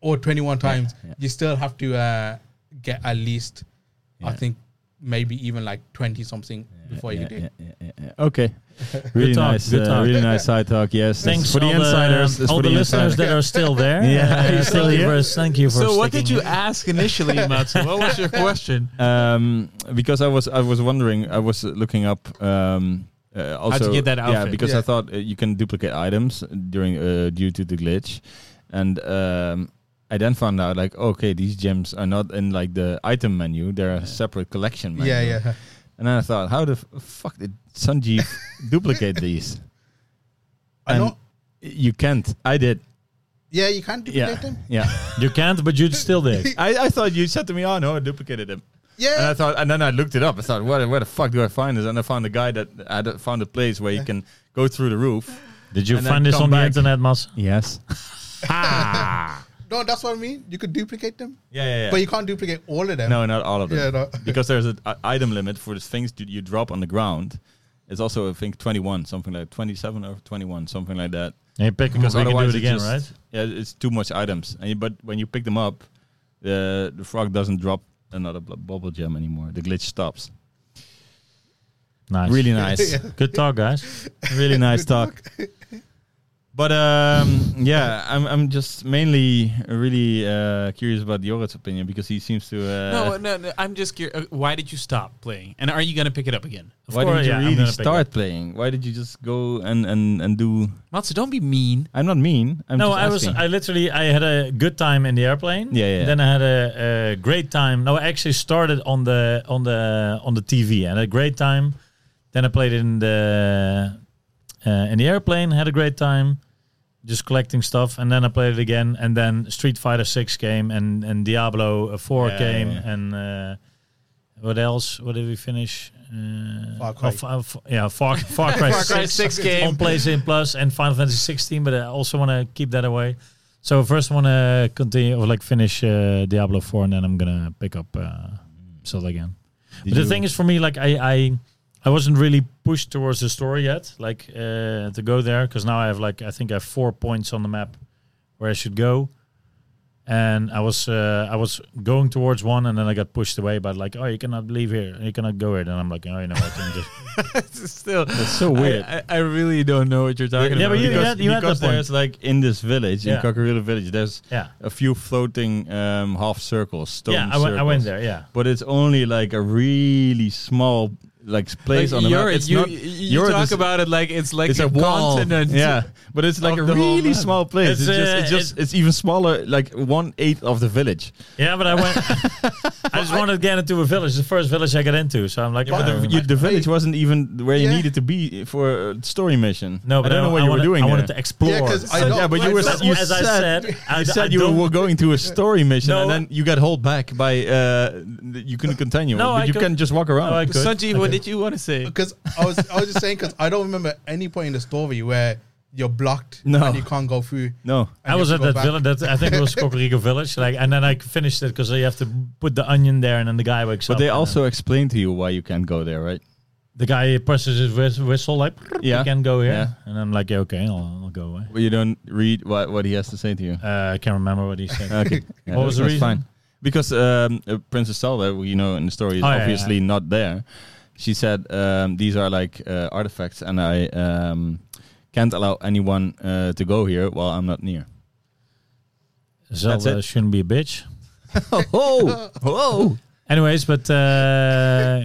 or twenty-one times.
yeah.
You still have to uh, get at least, I
Yeah.
think, maybe even like twenty something before
yeah,
you do.
yeah, yeah, yeah, yeah. Okay. Really
talk,
nice.
good
uh,
talk.
Really nice side talk. Yes.
thanks
for the
all
insiders.
the,
it's
all
for
the, listeners
insiders.
that are still there.
Yeah,
Uh,
you're still
thank you
here.
for thank you for.
So, what
sticking
did you
in.
ask initially, Mats? What was your question?
um, because I was I was wondering I was looking up um, Uh,
to
also,
get that
Yeah,
outfit.
because I
Yeah.
thought uh, you can duplicate items during uh, due to the glitch, and um, I then found out like okay, these gems are not in like the item menu; they're a separate collection menu.
Yeah, yeah.
And then I thought, how the f- fuck did Sanjeev duplicate these? And
I know.
You can't. I did.
Yeah, you can't
Yeah,
duplicate them.
yeah.
You can't, but you still did.
I, I thought you said to me, "Oh no, I duplicated them." And I
Yeah,
thought, and then I looked it up. I thought, where, where the fuck do I find this? And I found a guy that I d- found a place where you can go through the roof.
Did you
And then
find this
come
on the
back.
internet, Mas?
Yes.
no, that's what I mean. You could duplicate them,
Yeah, yeah, yeah.
but you can't duplicate all of them.
no, not all of them.
Yeah, no.
Because there's an i- item limit for the things that you drop on the ground. It's also, I think, 21, something like 27 or 21, something like that.
And you pick them up and you do it
it
again,
just-
right?
Yeah, it's too much items. And you, but when you pick them up, the the frog doesn't drop another bu- bubble gem anymore. The glitch stops.
Nice.
Really nice.
Good talk, guys.
really nice talk. But um, yeah, I'm I'm just mainly really uh, curious about Jorrit's opinion because he seems to. Uh,
No, no, no. I'm just curious. Why did you stop playing? And are you going to pick it up again?
Of
why
course,
didn't you
yeah, I'm
really
gonna pick it
start playing? Why did you just go and and and do?
Matsu, don't be mean.
I'm not mean. I'm
no,
just
I was.
asking.
I literally. I had a good time in the airplane.
Yeah, yeah, yeah.
Then I had a, a great time. No, I actually started on the on the on the TV and had a great time. Then I played in the uh, in the airplane. Had a great time, just collecting stuff. And then I played it again. And then Street Fighter Six came and and Diablo uh, Four
Yeah,
came
yeah, yeah.
and uh, what else? What did we finish? Uh,
Far Cry.
oh, fa- fa- yeah, Far, Far Cry
Far Cry
Six
Six
on
game.
PlayStation Plus and Final Fantasy 16, but I also want to keep that away. So first, I want to continue or like finish uh, Diablo 4, and then I'm gonna pick up uh, Zelda again.
Did
but the
you-
thing is, for me, like I, I, I wasn't really pushed towards the story yet, like uh, to go there, because now I have like I think I have four points on the map where I should go, and I was uh, I was going towards one, and then I got pushed away by like, oh, you cannot leave here, you cannot go here. Then I'm like, oh, you know, I can just
Still,
That's so weird.
I, I really don't know what you're talking
Yeah,
about.
but you-
because
had- you had
because
that point.
there's like in this village
Yeah.
in Kakarilo village, there's
yeah,
a few floating um, half circles, stone
yeah, I went- I went
circles.
there, yeah.
But it's only like a really small like place on the map.
Europe,
It's
you,
not
you-
Europe
you talk
is-
about it like it's like
it's a wall.
continent.
Yeah, but it's like
of
a
the whole
really
map.
small place.
It's,
It's, just,
uh,
it's just, it's even smaller, like one eighth of the village.
Yeah, but I went. I just wanted to get into a village. The first village I got into, so I'm like,
But
"Ah,
the, you, the village wasn't even where you
Yeah.
needed to be for a story mission.
no, but
I don't know what you
wanted,
were doing
I
there.
wanted to explore.
Yeah, 'cause I
So-
don't-
yeah, but you
I
were
don't-
you
as
said,
I said, I,
you said
I
you
don't-
were going to a story mission, and
No.
then you got held back by uh, you couldn't continue.
No,
but
I
you
could-
can just walk around.
No, I could.
Sanji, what did you want to say?
because I was I was just saying because I don't remember any point in the story where you're blocked
No.
and you can't go through.
no,
and
I
you
was
have
at
to go
that
back.
village. That I think it was Cocorico Village. Like, and then I finished it because you have to put the onion there, and then the guy wakes
but
up.
they
and
also explained to you why you can't go there, right?
then the guy presses his whis- whistle like,
Yeah.
you can go here,
Yeah.
and I'm like, yeah, okay, I'll, I'll go away.
But you don't read what what he has to say to you.
Uh, I can't remember what he said.
Okay, Yeah,
What was the
that's
reason?
Fine. Because um, uh, Princess Zelda, we know in the story, is
Oh, yeah,
obviously not there. She said um, these are like uh, artifacts, and I um, can't allow anyone uh, to go here while I'm not near.
Zelda
it.
shouldn't be a bitch.
oh, oh.
Anyways, but uh,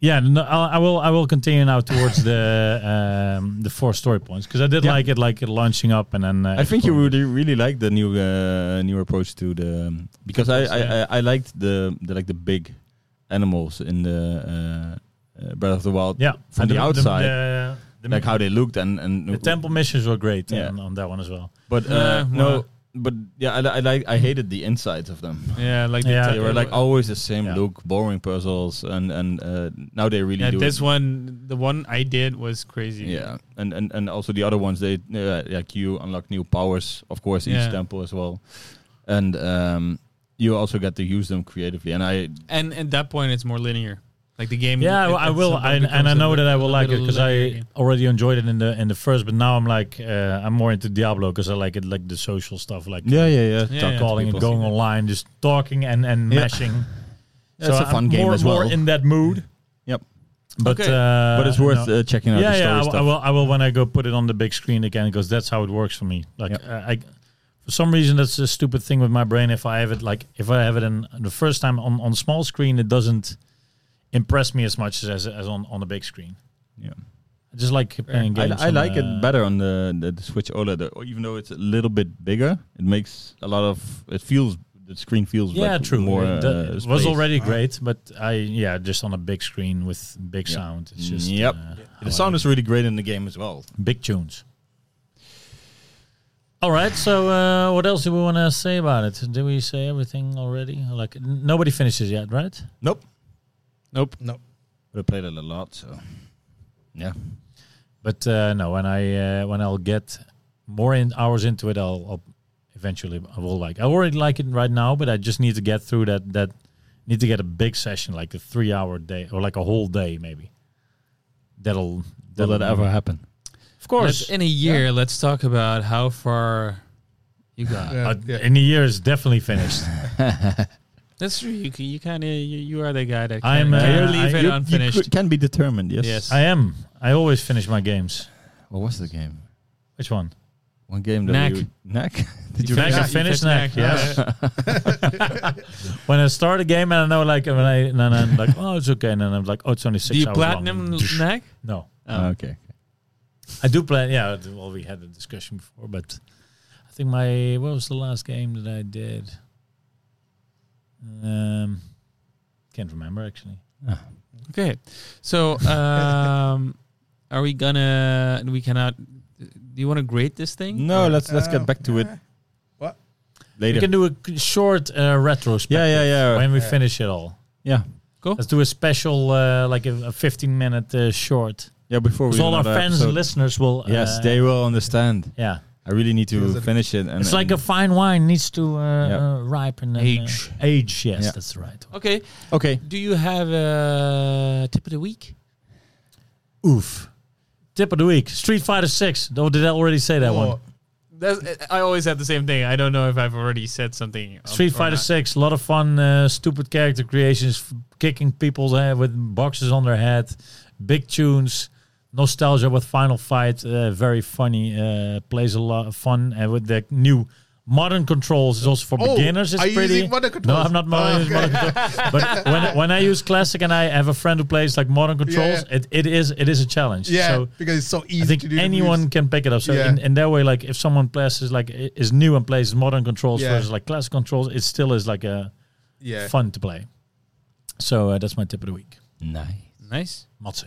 yeah, no, I'll, I will. I will continue now towards the um, the four story points because I did
Yeah.
like it, like it launching up and then. Uh,
I think you
exploring.
would really like the new uh, new approach to the um, because I, I,
Yeah.
I, I liked the, the like the big animals in the uh, uh, Breath of the Wild
yeah
from
and
the outside,
The, uh, the,
like how they looked and and
the temple missions were great
Yeah.
on, on that one as well.
But uh,
Yeah,
no,
well-
but yeah, I, li- I like I hated the insides of them.
Yeah, like the
Yeah,
type
They were
of-
like always the same
Yeah.
look, boring puzzles, and and uh, now they really
yeah,
do.
this
it.
one, the one I did was crazy.
yeah, and, and and also the other ones they uh, like you unlock new powers, of course, each
Yeah.
temple as well, and um, you also get to use them creatively. And I
and at that point, it's more linear. Like the game.
Yeah,
it-
I, I
it
will, I, and
sometimes
I
becomes a
know that I
little-
will like it
little
because
linear
I
game.
already enjoyed it in the in the first. But now I'm like, uh, I'm more into Diablo because I like it, like the social stuff, like
yeah yeah yeah,
Yeah,
talk
yeah.
to
calling and
people.
going online, just talking and and
Yeah.
meshing.
Yeah, it's a fun
I'm
game
more,
as
more
well.
in that mood.
Yep.
But
Okay.
uh,
but it's worth
no.
uh, checking out
yeah,
the story
yeah. I,
stuff.
I will. I will when I go put it on the big screen again because that's how it works for me. Like uh, I, for some reason, that's a stupid thing with my brain. If I have it, like if I have it in the first time on on small screen, it doesn't impress me as much as as on on the big screen.
Yeah.
I just like playing
I,
games.
I
on,
like
uh,
it better on the, the, the Switch OLED, or even though it's a little bit bigger. It makes a lot of it feels the screen feels
Yeah,
like
true.
more.
it,
uh,
it was
space.
already
Ah.
great, but I yeah, just on a big screen with big
Yeah.
sound. It's just
Yep.
uh,
The sound is really great in the game as well.
big tunes. All right, so uh, what else do we want to say about it? Did we say everything already? Like n- nobody finishes yet, right?
Nope,
Nope.
No.
Uh,
but I played it a lot, so yeah.
But uh, no, when I uh, when I'll get more in hours into it, I'll, I'll eventually I will like. I already like it right now, but I just need to get through that that need to get a big session, like a three hour day or like a whole day maybe. That'll
Will that ever happen?
Of course,
Let's, in a year, let's talk about how far you got.
Yeah,
Uh,
yeah.
in a year is definitely finished.
That's true. You, c- you kind of you, you are the guy that
I'm,
kinda
uh,
can leave
I-
it
you- you
unfinished.
could- can be determined. Yes.
Yes.
I am. I always finish my games.
What was the game?
Which one?
One game that
Knack.
we Knack? Did you?
Knack
finish-
and finish
you
Knack,
finish Knack,
yes. when I start a game and I know like when I and then I'm like oh it's okay and then I'm like oh it's only six
Do you
hours
platinum
long. Uh,
neck?
No,
Oh, okay.
I do plan. Yeah, well we had a discussion before, but I think my what was the last game that I did? Um, can't remember actually.
Okay. So, um, are we gonna? We cannot. Do you want to grade this thing?
No, let's let's
Uh,
get back to it
yeah.
We
later.
can do a c- short uh, retrospective.
Yeah, yeah, yeah.
When we
Yeah.
finish it all,
yeah,
let's do a special uh, like a, a 15 minute uh, short.
yeah. Before we
So all our
another
fans
episode.
and listeners will.
Yes,
uh,
they will understand.
Yeah,
I really need
Because
to
it-
finish it. And
it's like a
and-
fine wine needs to uh,
Yeah.
uh, ripen. and, uh,
Age.
age. Yes,
Yeah.
that's right.
Okay.
okay.
Do you have a tip of the week?
Oof. Tip of the week: Street Fighter Six. Oh, did I already say that one?
Or-
That's, I always have the same thing. I don't know if I've already said something.
Street Fighter Six, a lot of fun, uh, stupid character creations, f- kicking people's head with boxes on their head, big tunes, nostalgia with Final Fight, uh, very funny, uh, plays a lot of fun, and with the new modern controls, it's also for
Oh,
beginners. It's
are you
pretty.
using Uh, modern
no,
controls? Ah,
I'm not modern,
Okay.
modern controls. But when when I use classic and I have a friend who plays like modern controls, It, it is it is a challenge.
Yeah,
So,
because it's so easy
I think
to do. the
anyone
moves.
can pick it up. So
Yeah.
in, in that way, like if someone plays is like i- is new and plays modern controls
Yeah.
versus like classic controls, it still is like a
Yeah.
fun to play. So uh, that's my tip of the week.
Nice.
Nice.
Matze.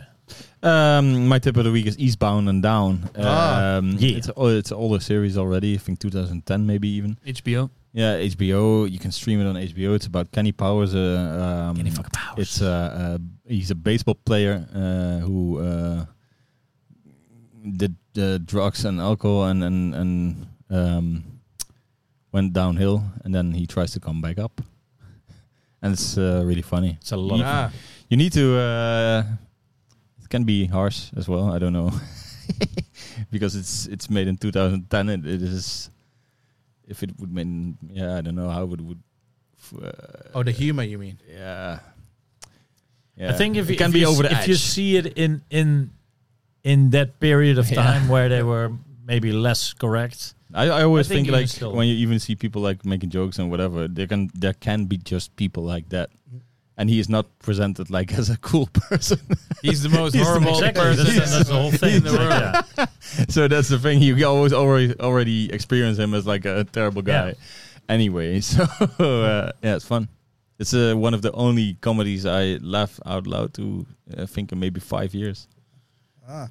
Um, my tip of the week is Eastbound and Down.
Ah,
um,
yeah.
it's o- it's an older series already. I think 2010 maybe even.
HBO.
Yeah, HBO. You can stream it on HBO. It's about Kenny Powers. Uh, um,
Any fucking powers.
It's uh, uh, he's a baseball player uh, who uh, did uh, drugs and alcohol and and and um, went downhill, and then he tries to come back up. And it's uh, really funny.
it's a lot. of
Ah,
You need to. Uh, it can be harsh as well. I don't know because it's it's made in 2010. It, it is. If it would mean, yeah, I don't know how it would. f- Uh,
oh, the humor you mean?
yeah.
I think if
it
you-
can
if
be
you,
over the
if
edge.
you see it in in in that period of
Yeah.
time where they were maybe less correct,
I, I always
I think
think,
even
like
still.
when you even see people like making jokes and whatever, there can there can be just people like that,
Mm.
and he is not presented like as a cool person.
He's the most
He's the
horrible
exactly.
person.
That's,
in the
that's the whole thing.
the
Like,
world.
yeah.
so that's the thing. You always already already experience him as like a terrible guy.
Yeah.
Anyway, so uh, yeah, it's fun. It's uh, one of the only comedies I laugh out loud to. I think in maybe five years.
Ah.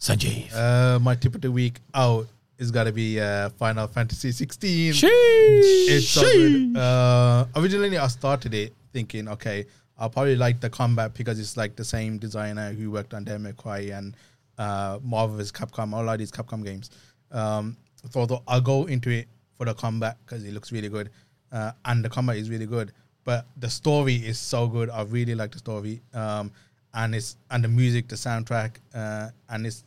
Sanjeev.
Uh, my tip of the week out is gotta be uh, Final Fantasy 16. It's so good. Uh, originally, I started it thinking, okay, I'll probably like the combat because it's like the same designer who worked on Devil May Cry and uh, Marvel's Capcom, all of these Capcom games. Um, so I thought I'll go into it for the combat because it looks really good, uh, and the combat is really good. But the story is so good. I really like the story, um, and it's and the music, the soundtrack, uh, and it's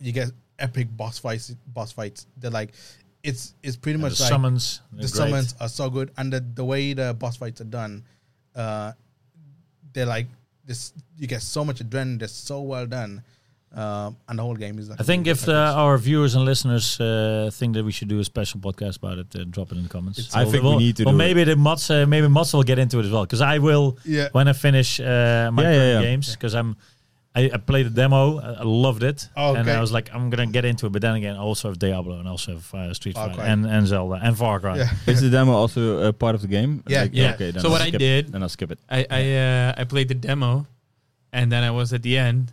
you get epic boss fights. Boss fights. They're like. It's, it's pretty
The
much like
summons.
the
great.
summons are so good, and the, the way the boss fights are done, uh, they're like this. You get so much adrenaline. They're so well done, Um, and the whole game is like.
I
a
think
complete
if uh,
package.
our viewers and listeners uh, think that we should do a special podcast about it, uh, drop it in the comments.
It's- I think we need to
Well,
do
maybe the Mats, uh, maybe Mats will get into it as well because I will
yeah,
when I finish uh, my
Yeah, yeah,
current
yeah.
games because I'm. I, I played the demo. I I loved it, and
Oh, Okay.
I was like, I'm gonna get into it. But then again, I also have Diablo and I also have uh, Street
Far
Fighter
Cry.
and, and Zelda and Far Cry.
yeah,
Is the demo also a part of the game?
Yeah.
Yeah.
Okay, then
So
I'll
what I
skip-
did-
Then I'll skip it.
I I uh, I played the demo, and then I was at the end,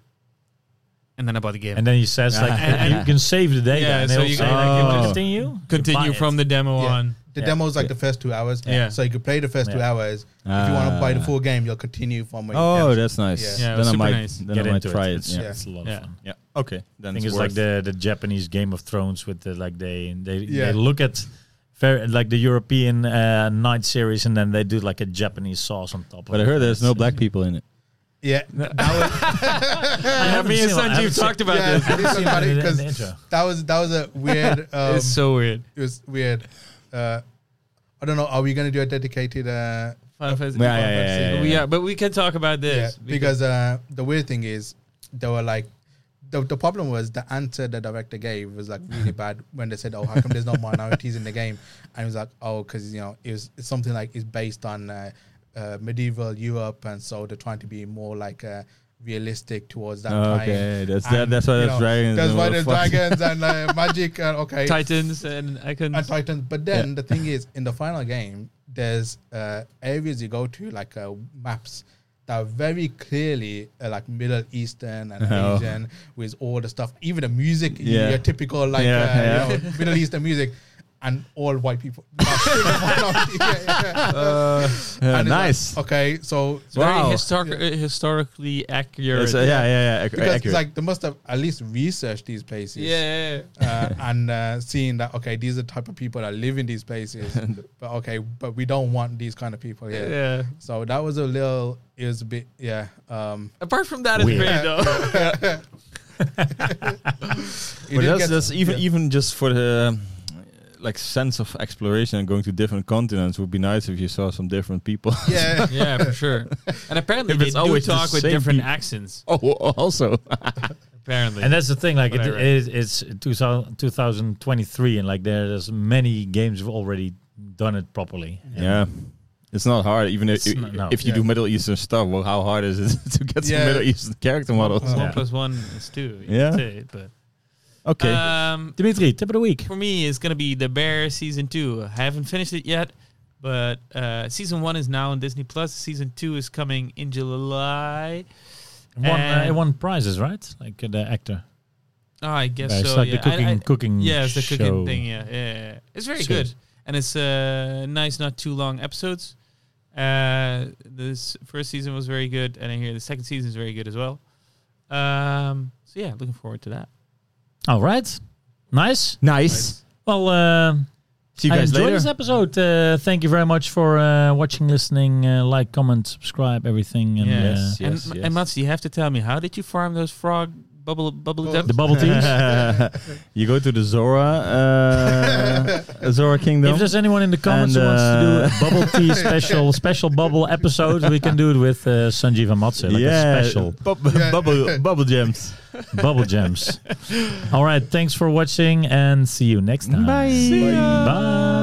and then I bought the game.
And then he says like,
Yeah.
and you can save the data.
Yeah,
and
so
they'll
you
say,
can-
like, oh. you wanna
Oh.
continue,
continue from the demo
Yeah.
on.
the
Yeah.
demo is like the first two hours.
Yeah.
So you could play the first two
Yeah.
hours. if you want to buy the
Ah.
full game, you'll continue from where.
Oh,
you
that's nice.
Yeah.
Yeah, it was
then I
super
might
nice.
then
get
I might
into
try
it.
it.
It's,
Yeah.
it's a lot
Yeah.
of fun.
yeah. Okay. Then
I think it's like the the Japanese Game of Thrones with the like they they,
Yeah.
they look at very, like the European uh, night series and then they do like a Japanese sauce on top.
But
of
I
it.
heard there's no
It's-
black people in it.
yeah,
I haven't
me and
seen it. I
Sanjeev
haven't seen-
talked about
yeah,
this.
I didn't see about
in
it
the- in
'cause
the intro.
that was that was a weird. Um,
it's so weird.
it was weird. Uh, I don't know. Are we gonna do a dedicated? Uh,
Final Fantasy.
Yeah,
Final
yeah, yeah,
Fantasy.
yeah,
We
yeah.
are, but we can talk about
yeah,
this
because uh, the weird thing is they were like. The, the problem was the answer the director gave was like really bad when they said, "Oh, how come there's no minorities in the game?" And it was like, "Oh, because you know it was it's something like it's based on uh, uh, medieval Europe, and so they're trying to be more like uh, realistic towards that time."
Okay, that's that,
And,
that's why
you
there's
know,
dragons.
That's
and
why
what the
there's
fuck.
dragons and uh, magic. And okay,
Titans and I can.
and Titans. But then the thing is, in the final game, there's uh, areas you go to, like uh, maps that are very clearly uh, like Middle Eastern and
Oh.
Asian, with all the stuff. Even the music, you-
Yeah.
your typical like
Yeah,
uh,
yeah.
You know, Middle Eastern music, and all white people. Yeah, yeah.
Yeah,
And it's like,
nice.
okay, so
it's very
Wow.
historic, uh, historically accurate.
It's, uh, yeah, yeah, yeah. ac-
because it's
accurate.
like they must have at least researched these places.
yeah, yeah, yeah.
uh, and uh, seeing that okay, these are the type of people that live in these places, but okay, but we don't want these kind of people here.
Yeah.
So that was a little, it was a bit, yeah, um,
Apart from that, it's
Weird.
great though.
it
but
did
that's,
get-
that's even
yeah.
even just for the uh, like sense of exploration and going to different continents would be nice if you saw some different people.
yeah.
yeah, for sure. And apparently,
If
they
it's
do
always the
talk with
same
different
people.
accents.
oh, also.
Apparently,
And that's the thing, like it,
What I
it, it's 2000, 2023, and like there's many games have already done it properly. And
Yeah. It's not hard, even if
It's not- no.
if you do
Yeah.
Middle Eastern stuff. Well, how hard is it to get some
Yeah.
Middle Eastern character models?
one
Yeah.
plus one is two.
Yeah.
That's it, but
Okay,
Uh,
um,
Dimitri, tip of the week.
for me, it's gonna be The Bear season two. I haven't finished it yet, but uh, season one is now on Disney Plus. Season two is coming in July.
It won, uh,
And-
it won prizes, right? Like uh, the actor. Uh,
Oh, I guess
It's
so.
like
yeah.
the cooking,
I, I,
cooking
yeah, it's the
show.
cooking thing. Yeah, yeah, yeah. it's very
Sure.
good, and it's uh, nice, not too long episodes. Uh, this first season was very good, and I hear the second season is very good as well. Um, so yeah, looking forward to that.
All right. Nice.
nice.
Well, uh,
See you
I
guys
enjoyed
later.
this episode. Uh, thank you very much for uh, watching, listening, uh, like, comment, subscribe, everything. And,
yes,
uh,
and,
yes, yes.
and Mats, you have to tell me how did you farm those frog bubble bubble
uh,
ducks?
the bubble teas.
you go to the Zora uh, Zora Kingdom.
If there's anyone in the comments
And, uh,
who wants to do a bubble tea special, special bubble episode, we can do it with uh, Sanjeev and Matze, like
yeah,
a special
bub- bubble bubble gems.
bubble gems. All right, thanks for watching and see you next time.
Bye. See ya.
Bye.